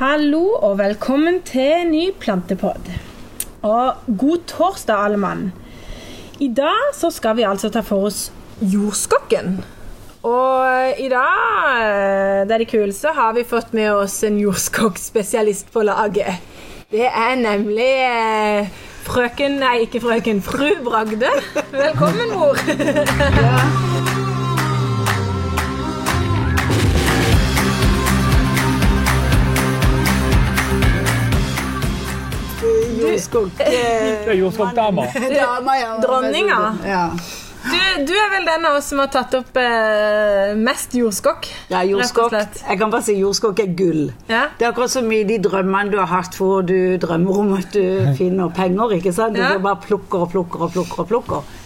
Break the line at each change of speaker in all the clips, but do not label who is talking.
Hallo og velkommen til en ny plantepod. Og god torsdag, alle mann. I dag så skal vi altså ta for oss jordskokken. Og i dag, eh, det er de kuleste, har vi fått med oss en jordskokkspesialist på laget. Det er nemlig eh, frøken Nei, ikke frøken. Fru Bragde. Velkommen, mor.
eh,
Det er jordskokkdama.
Dama, ja.
Dronninga.
Ja.
Du, du er vel den av oss som har tatt opp eh, mest jordskokk?
ja,
Rett
jordskokk.
og slett.
Jeg kan bare si jordskokk er gull.
Ja.
Det er akkurat så mye de drømmene du har hatt hvor du drømmer om at du finner penger. ikke sant? Du
Ja.
bare plukker og plukker og plukker. og plukker.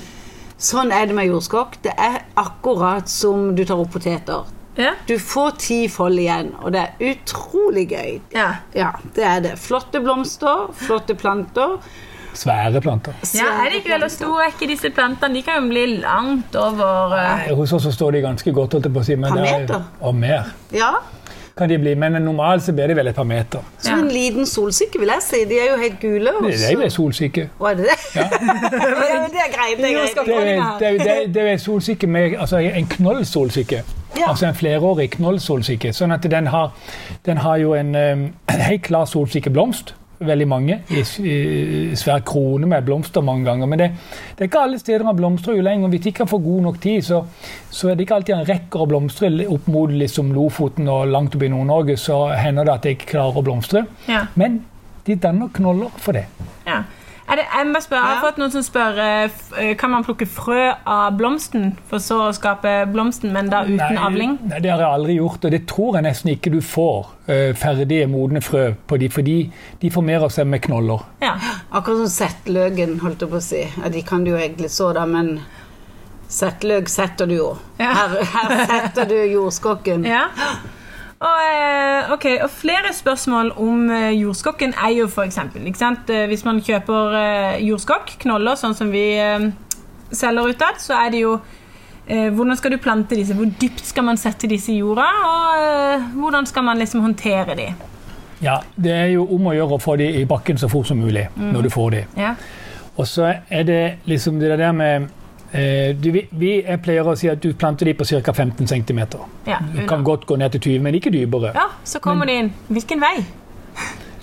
Sånn er det med jordskokk. Det er akkurat som du tar opp poteter.
Ja.
Du får ti fold igjen, og det er utrolig gøy.
Ja.
Ja, det er det. Flotte blomster, flotte planter.
Svære planter.
ja, er det ikke vel å storrekke disse plantene? De kan jo bli langt over eh,
Hos oss så står de ganske godt, holdt jeg på å si. Men
Par
det er-
meter?
Og mer.
Ja,
Kan de bli, men normalt så blir de vel et par meter.
Som en liten solsikke, vil jeg si. De er jo helt gule. og
Det er
så-
jo en solsikke.
Å, er det det? Ja. men det er greit. Det er greit.
Det er, det, er, det, er, det er en solsikke med altså en knollsolsikke.
Ja.
Altså en flerårig knollsolsikke. Sånn at den har, den har jo en, eh, en helt klar solsikkeblomst. Veldig mange. I, s- i svær krone med blomster mange ganger. Men det, det er ikke alle steder man blomstrer jo lenger. Hvis ikke man får god nok tid, så, så er det ikke alltid en rekker å blomstre opp mot liksom Lofoten og langt opp i Nord-Norge. Så hender det at jeg ikke klarer å blomstre.
Ja.
Men de danner knoller for det.
ja. Er det, jeg, må spørre, jeg har fått noen som spør eh, f- eh, Kan man plukke frø av blomsten for så å skape blomsten, men da uten
Nei,
avling?
Nei, det har jeg aldri gjort, og det tror jeg nesten ikke du får eh, ferdige modne frø på de, fordi de formerer seg med knoller.
Ja.
Akkurat som settløken, holdt jeg på å si. Ja, de kan du jo egentlig så, da, men settløk setter du jo.
Ja.
Her, her setter du jordskokken.
ja. Og, eh, ok, og flere spørsmål om eh, jordskokken er jo for eksempel ikke sant? Eh, Hvis man kjøper eh, jordskokk, knoller, sånn som vi eh, selger utad, så er det jo eh, Hvordan skal du plante disse? Hvor dypt skal man sette disse i jorda? Og eh, hvordan skal man liksom håndtere de?
Ja, Det er jo om å gjøre å få de i bakken så fort som mulig
Mm.
når du får de.
Ja.
Og så er det liksom det der med eh, du, vi, vi, Jeg pleier å si at du planter de på ca. 15 cm.
Ja,
Du kan godt gå ned til 20, men ikke dypere.
ja, så kommer de inn. Hvilken vei?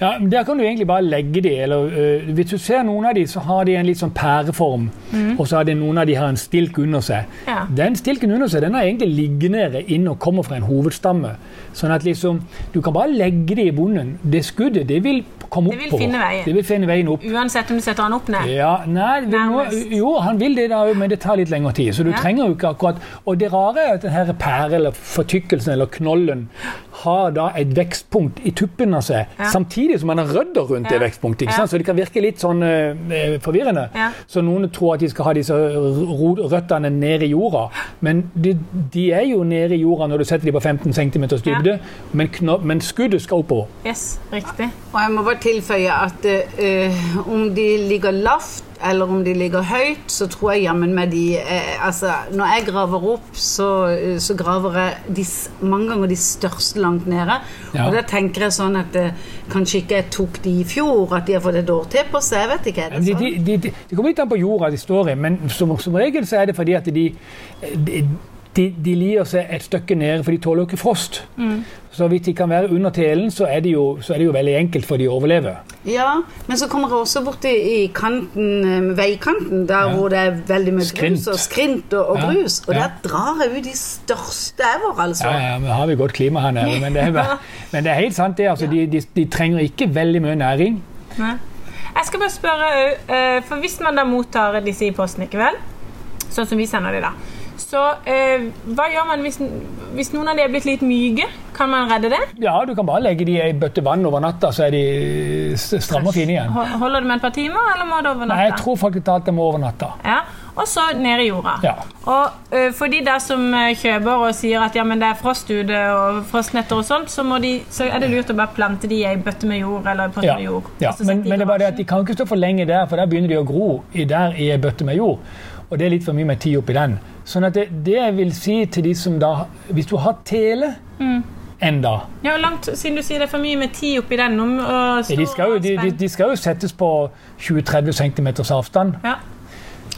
Ja, men Der kan du egentlig bare legge de, eller øh, Hvis du ser noen av de, så har de en litt sånn pæreform. Og så har de noen av de har en stilk under seg.
Mm. Ja.
Den stilken under seg den har egentlig ligget nede inn og kommer fra en hovedstamme. Sånn at liksom, du kan bare legge de i bonden. Det skuddet det vil komme
Det
opp
vil
på.
finne veien.
Det vil finne veien opp.
Uansett om du setter den opp ned.
Ja, nei, vi må,
Nærmest.
jo, han vil det, da, men det tar litt lengre tid. Så du
Ja.
trenger jo ikke akkurat Og det rare er at denne pære, eller fortykkelsen, eller knollen, har da et vekstpunkt i tuppen av seg,
Ja.
samtidig som man har rødder rundt
Ja.
det vekstpunktet.
Ja.
ikke sant? Så det kan virke litt sånn eh, forvirrende.
Ja.
Så noen tror at de skal ha disse ro- røttene ned i jorda, men de, de er jo nede i jorda når du setter dem på 15 cm dybde, men, kno- men skuddet skal oppover.
Yes, riktig.
Og jeg må bare tilføye at eh, om de ligger lavt eller om de ligger høyt, så tror jeg jammen meg de eh, Altså, når jeg graver opp, så, eh, så graver jeg de, s- mange ganger de største langt nede.
Ja.
Og da tenker jeg sånn at eh, kanskje ikke jeg tok de i fjor, at de har fått et år til på seg. Jeg vet ikke. er
Ja,
det
De,
sånn?
de, de, de, det kommer litt an på jorda de står i, men som, som regel så er det fordi at de, de, de, de lier seg et stykke ned, for de tåler jo ikke frost. Så hvis de kan være under telen, så er det jo, så er det jo veldig enkelt for de å overleve.
Ja, men så kommer jeg også borti i kanten, eh, veikanten, der hvor det er veldig mye
Skrint.
grus og skrint og, og
Ja,
grus. Og
ja.
der drar jeg ut de største ever, altså.
Ja, ja, men har vi godt klima her nede, men det er, bare- men det er helt sant det. Altså, de, de, de trenger ikke veldig mye næring.
Nei. Jeg skal bare spørre òg, for hvis man da mottar disse i posten, ikke vel? Sånn som vi sender de da. Så eh, hva gjør man hvis, hvis noen av de er blitt litt myke? Kan man redde det?
Ja, du kan bare legge de i ei bøtte vann over natta, så er de eh, stramme og fine igjen.
Ho- Holder det med et par timer, eller må det over
Nei, jeg
natta?
tror faktisk alt det må over natta.
Ja. Og så ned i jorda.
Ja.
Og eh, for de der som eh, kjøper og sier at ja, men det er frost ute og frostnetter og sånt, så, må de, så er det lurt å bare plante de i ei bøtte med jord eller en pott
Ja,
med jord.
ja.
og så
Men,
sette de i
men det er bare det at de
garasjen.
kan ikke stå for lenge der, for der begynner de å gro i, der i ei bøtte med jord. Og det er litt for mye med tid oppi den. Sånn at det, det jeg vil si til de som da Hvis du har tele enda.
Ja, og langt, Siden du sier det er for mye med tid oppi den om, og så
De skal jo, de, de, de skal jo settes på 20-30 cm avstand.
Ja.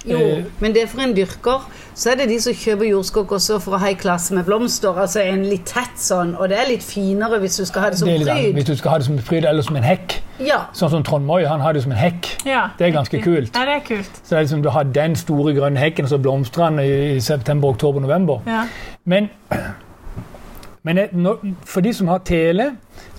Jo,
Eh.
men det er for en dyrker. Så er det de som kjøper jordskokk også fra high class med blomster. Altså en litt tett sånn, og det er litt finere hvis du skal ha det som
Det er litt annet.
pryd.
Hvis du skal ha det som en pryd eller som en hekk.
Ja.
Sånn som Trond Moi, han har det som en hekk.
ja.
Det er ganske kult.
Ja, det er kult.
Så det er liksom, Du har den store grønne hekken, og så blomstrer den i- i september, oktober, november.
Ja.
Men, men jeg- når, for de som har tele,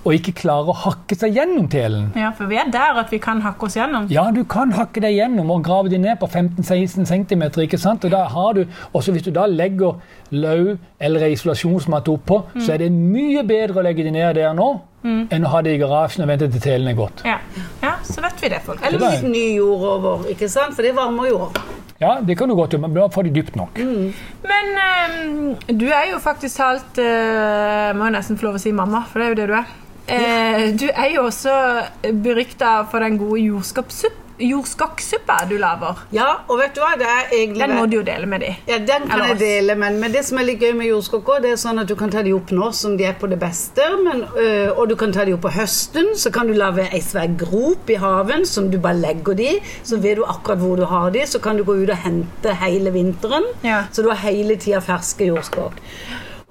og ikke klarer å hakke seg gjennom telen
ja, for vi er der at vi kan hakke oss gjennom.
Ja, du kan hakke deg gjennom og grave deg ned på 15-16 cm. ikke sant? Og da har du, også hvis du da legger løv eller ei isolasjonsmatte oppå, så er det mye bedre å legge deg ned der nå enn å ha det i garasjen og vente til telen er gått.
Ja, ja så vet vi det, folk.
Eller litt ny jord over, ikke sant? For det varmer jo opp.
Ja, det kan du godt gjøre, men da får de dypt nok.
Men eh, du er jo faktisk talt eh, Må jo nesten få lov å si mamma, for det er jo det du er. Eh, du er jo også berykta for den gode jordskapssupp- jordskokksuppa du lager.
Ja, og vet du hva? Det er egentlig
Den må du jo dele med de.
Ja, den kan
Eller
jeg
oss.
dele, men, men det som er litt gøy med jordskokk også, det er sånn at du kan ta de opp nå som de er på det beste, men, øh, og du kan ta de opp på høsten, så kan du lage ei svær grop i haven som du bare legger de, så vet du akkurat hvor du har de, så kan du gå ut og hente hele vinteren,
Ja.
så du har hele tida ferske jordskokk.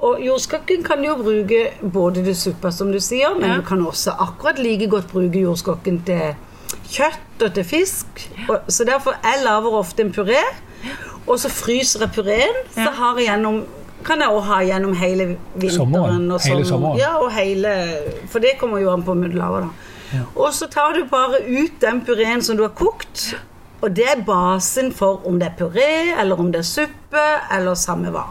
Og jordskokken kan du jo bruke både til suppa, som du sier, men
Ja.
du kan også akkurat like godt bruke jordskokken til kjøtt og til fisk. Og, så derfor jeg lager ofte en puré, og så fryser jeg puréen, så har jeg gjennom kan jeg også ha gjennom hele vinteren.
Sommeren.
og
Hele sommeren.
Ja, og hele, for det kommer jo an på om du lager, da. Og så tar du bare ut den puréen som du har kokt, og det er basen for om det er puré, eller om det er suppe, eller samme hva.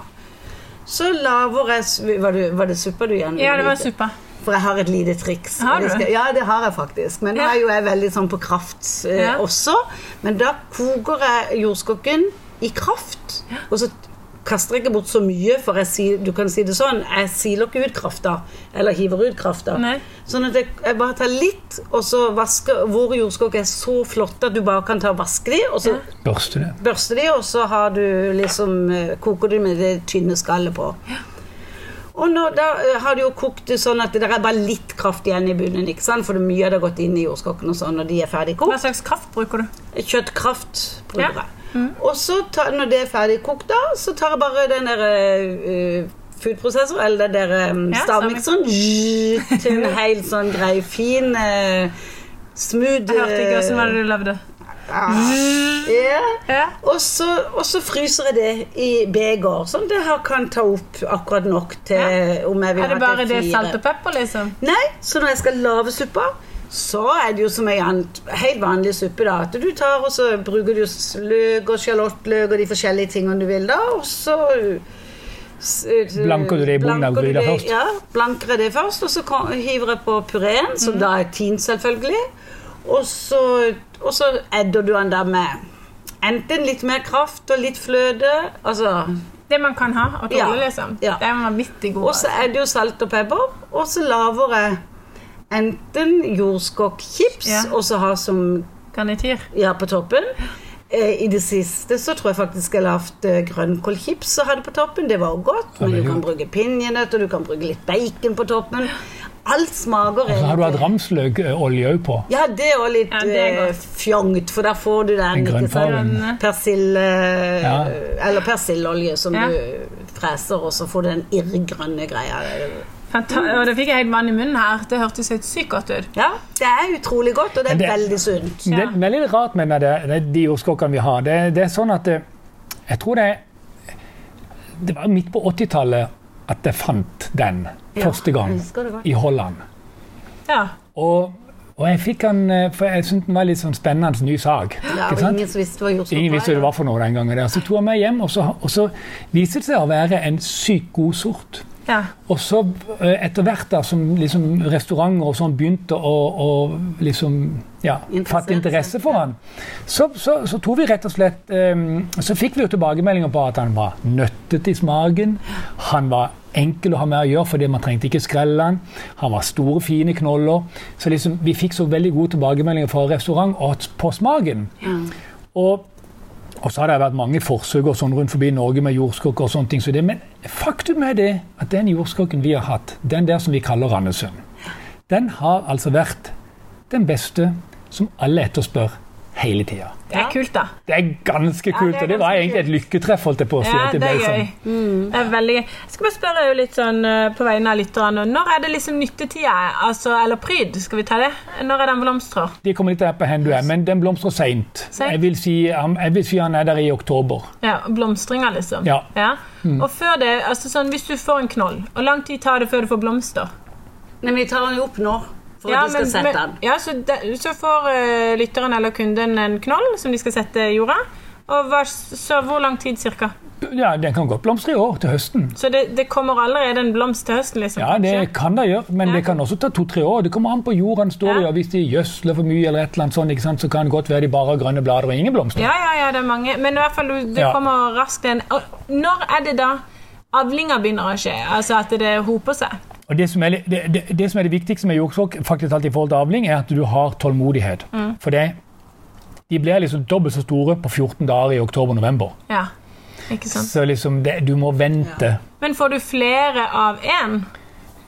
Så laver jeg su- Var det, var det suppa du gjerne ville
Ja, det var
vite?
suppa.
For jeg har et lite triks.
Har
og det
du?
skal- Ja, det har jeg faktisk. Men nå
Ja.
er jo jeg veldig sånn på kraft eh,
Ja.
også. Men da koker jeg jordskokken i kraft. Og så kaster jeg ikke bort så mye, for jeg si, du kan si det sånn Jeg siler ikke ut krafta. Eller hiver ut krafta.
Nei.
Sånn at jeg, jeg bare tar litt, og så vasker Våre jordskokk er så flotte at du bare kan ta og vaske de, og så
Ja.
Børste det.
børste de, og så har du liksom, eh, koker du med det tynne skallet på. Og nå, da eh, har du jo kokt det sånn at det der er bare litt kraft igjen i bunnen, ikke sant? for det mye har det gått inn i jordskokken og sånn, og de er ferdig
Hva
kokt.
slags kraft bruker du?
Kjøttkraft bruker jeg.
Ja.
Og så, tar- når det er ferdig kokt, da, så tar jeg bare den der eh, foodprosessor, eller den der eh,
Ja,
stavmikseren, zzz, til en helt sånn grei, fin, eh, smooth
Jeg hørte ikke hvordan
eh,
var det du lagde.
ah, ja.
Ja.
Og så, og så fryser jeg det i beger, sånn at jeg har- kan ta opp akkurat nok til om jeg vil
Er det
ha
bare
til
det
fire.
salt og pepper, liksom?
Nei, så når jeg skal lage suppa, så er det jo som ei ann- helt vanlig suppe. da, at Du tar og så bruker du s- løk og sjalottløk og de forskjellige tingene du vil, da, og så s-
Blanker du det i bunnen av
blanker du
gryta
det-
først?
Ja, blanker jeg det først, og så kom- hiver jeg på pureen,
Mhm.
som da er tint, selvfølgelig. Og så, og så edder du den der med enten litt mer kraft og litt fløte. altså...
Det man kan ha og tåle,
Ja.
liksom.
Ja.
Det er vanvittig god.
Og så er det jo salt og pepper. Og så lager jeg enten jordskokkchips,
Ja.
og så har som
altså. Garnityr.
ja, på toppen. Eh, I det siste så tror jeg faktisk jeg lagde eh, grønnkålchips og hadde på toppen. Det var også godt.
Ja,
Men
det er
du kan
godt.
bruke pinjenøtt, og du kan bruke litt bacon på toppen. Alt smaker
Så har du hatt ramsløkolje òg på.
Ja, det er også litt
Ja, det er
eh,
godt.
fjongt, for der får du den
Den
ikke sant,
eh,
grønnfargen.
persille...
Ja.
Eller persilleolje som
Ja.
du freser, og så får du den irrgrønne greia.
Fanta og det fikk jeg helt vann i munnen her. Det hørtes helt sykt godt ut.
Ja, det er utrolig godt, og det er
Men det-
veldig sunt.
Ja.
Det, det er litt rart med det, det, de jordskokkene vi har. Det, det er sånn at eh, Jeg tror det Det var midt på 80-tallet at jeg fant den første gang
husker det godt.
i Holland.
Ja.
Og, og jeg fikk den eh, For jeg syntes den var litt sånn spennende ny sak.
Ja, og
ikke sant?
ingen som visste hva jordskokker
Ingen visste hva det var for noe den gangen. der. Så tok jeg meg hjem, og så, og så viste det seg å være en sykt god sort.
ja.
Og så eh, etter hvert da, som liksom, restauranter og sånn begynte å, å liksom, ja,
Interessere
fatte interesse for han, så, så, så tok vi rett og slett eh, Så fikk vi jo tilbakemeldinger på at han var nøttet i smaken. Han var enkel å ha med å gjøre fordi man trengte ikke skrelle han. Han var store, fine knoller. Så liksom, vi fikk så veldig gode tilbakemeldinger fra restaurant og på smaken. Og Og så har det vært mange forsøk og sånn rundt forbi Norge med jordskokker og sånne ting. Så det, men faktum er det at den jordskokken vi har hatt, den der som vi kaller Randesund, den har altså vært den beste som alle etterspør hele tida.
Det er kult, da.
Det er ganske
det er
kult, og det var
ganske
egentlig et lykketreff, holdt jeg på å si.
Ja, det
at
er
ble
gøy.
sånn.
Det er veldig gøy. Jeg skal bare spørre jo litt sånn eh, på vegne av lytterne. Når er det liksom nyttetida? Altså, eller pryd, skal vi ta det? Når er den blomstrer?
Det kommer litt an på hvor du er, men den blomstrer seint.
Sent?
Jeg, vil si, han- jeg vil si han er der i oktober.
Ja, blomstringa, liksom.
Ja. Mm.
Og før det, altså sånn hvis du får en knoll, hvor lang tid tar det før du får blomster?
Men vi tar den jo opp nå, for at du skal sette den.
ja, så, de, så får eh, lytteren eller kunden en knoll som de skal sette i jorda. Og hva, så hvor lang tid cirka?
Ja, Den kan godt blomstre i år, til høsten.
Så det, det kommer allerede en blomst til høsten? liksom?
Ja,
kanskje?
det kan det gjøre, men
Ja.
det kan også ta to-tre år. Det kommer an på jorda den står i,
Ja.
og hvis de gjødsler for mye, eller et eller annet sånt, ikke sant, så kan det godt være de bare har grønne blader og ingen blomster.
Ja, ja, ja, det er mange. Men i hvert fall, du- det
Ja.
kommer raskt en og Når er det da avlinga begynner å skje? Altså at det hoper seg?
Og det som, er, det, det, det som er det viktigste med jordskokk faktisk alltid i forhold til avling, er at du har tålmodighet.
Mm.
For det, de blir liksom dobbelt så store på 14 dager i oktober-november.
Ja. Ikke sant?
Så liksom det, du må vente.
Men får du flere av én?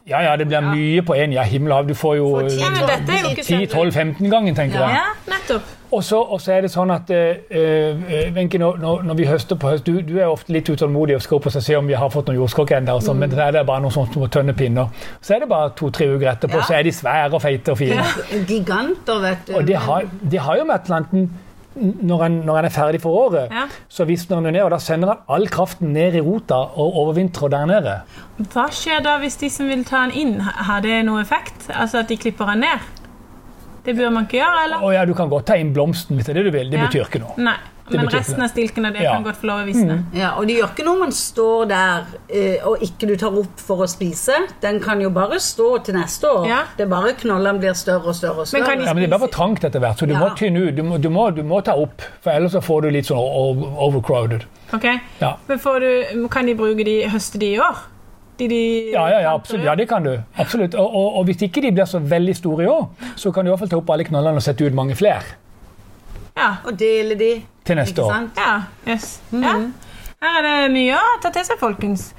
Ja, ja, det blir mye på én. Ja, himmel og hav. Du får jo
Får ti,
Ja, men dette er jo ikke så
10-12-15 gangen, tenker jeg.
Ja, nettopp.
Og så, og så er det sånn at eh, eh, Wenche, når, når, når vi høster på høst Du, du er ofte litt utålmodig og skal opp og se om vi har fått noen jordskokk ennå, mm. men det er bare noen sånne små tønne pinner. Så er det bare to-tre uker etterpå,
Ja.
så er de svære og feite og fine.
Giganter, vet du.
Og det har, det har jo med Atlanten når han, når han er ferdig for året,
Ja.
så visner han jo ned, og da sender han all kraften ned i rota og overvintrer der nede.
Hva skjer da hvis de som vil ta den inn, har det noe effekt? Altså at de klipper den ned? Det bør man ikke gjøre, eller?
Å ja, du kan godt ta inn blomsten hvis det er det du vil. Det betyr ikke noe.
Nei, men
betyr ikke
resten
det.
av stilkene det
Ja.
kan godt få lov å visne.
Ja, og det gjør ikke noe om den står der eh, og ikke du tar opp for å spise. Den kan jo bare stå til neste år.
Ja.
Det er bare knollene blir større og større og
Men
større.
kan de-
Ja, men Det blir for trangt etter hvert, så du må
Ja.
tynne ut. Du må, du, må, du må ta opp, for ellers så får du litt sånn o- overcrowded.
Ok?
Ja.
Men får du, kan de bruke de, høste de i år? De de
Ja, ja, ja, absolutt. ja det kan du. Absolutt. Og, og, og hvis ikke de blir så veldig store i år, så kan du i hvert fall ta opp alle knollene og sette ut mange flere
Ja.
Og dele de.
til neste
Ikke
år.
sant?
Ja, yes. ja. Her er det mye å ta til seg, folkens.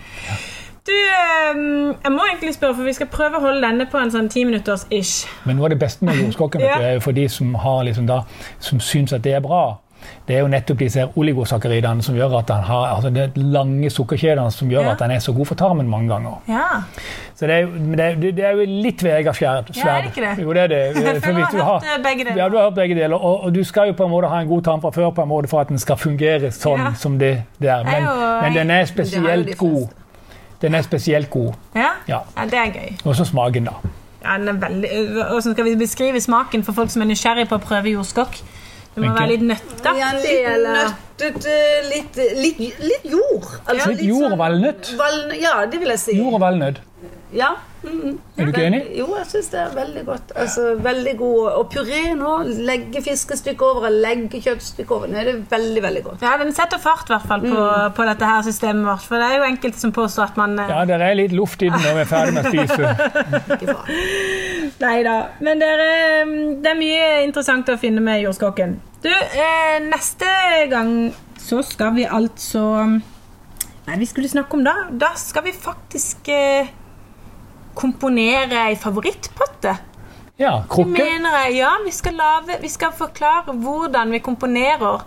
Du, eh, jeg må egentlig spørre, for vi skal prøve å holde denne på en sånn ti minutters ish.
Men noe av det beste med jordskokken vet du,
Ja.
er jo for de som, har liksom da, som syns at det er bra. Det er jo nettopp disse her oligosakkaridene som gjør at han har, altså det er lange sukkerkjedene som gjør
Ja.
at han er så god for tarmen mange ganger.
Ja.
Så det er, jo- men det er, det er jo litt Vegard Sverd.
Ja, er det ikke det?
Jo, det er det.
For
hvis
du
du
har
har-
hørt eh, begge
Ja,
deler.
du har hørt begge deler. Og, og du skal jo på en måte ha en god tarm fra før på en måte for at den skal fungere sånn
Ja.
som det, det er. Men,
Det er jo-
men den er
Det er jo de
spesielt
fleste.
god. Den er spesielt god.
Ja?
Ja.
ja, det er gøy.
Og så smaken, da.
Ja, den er veldig... Hvordan skal vi beskrive smaken for folk som er nysgjerrig på å prøve jordskokk? Det må
Wenche?
være litt nøtta.
Ja, en liten nøttet, eh, litt, litt, litt jord. Altså,
Litt jord og
sånn-
valnøtt?
valn- ja, det vil jeg si.
Jord og valnøtt.
Ja. mm, mm.
Er du ikke
Vel-
enig?
Jo, jeg syns det er veldig godt. Altså, veldig god. Og puré nå. Legge fiskestykket over og legge kjøttstykket over. Nå er det veldig, veldig godt.
Ja, den setter fart i hvert fall på, på dette her systemet vårt. For det er jo enkelte som påstår at man... eh,
Ja, det er litt luft i den når vi er ferdig med å spise.
Ikke faen.
Nei da. Men dere, det er mye interessant å finne med jordskokken. Du, eh, neste gang så skal vi altså Nei, vi skulle snakke om da. Da skal vi faktisk eh, komponere ei favorittpotte.
Ja,
Det
krukke.
mener jeg. Ja, vi skal, lave, vi skal forklare hvordan vi komponerer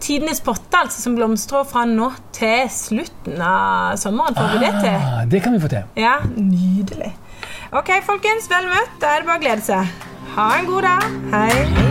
tidenes potte, altså, som blomstrer fra nå til slutten av sommeren. Får vi det til?
Ah, det kan vi få til.
Ja, nydelig. Ok, folkens, vel møtt. Da er det bare å glede seg. Ha en god dag. Hei.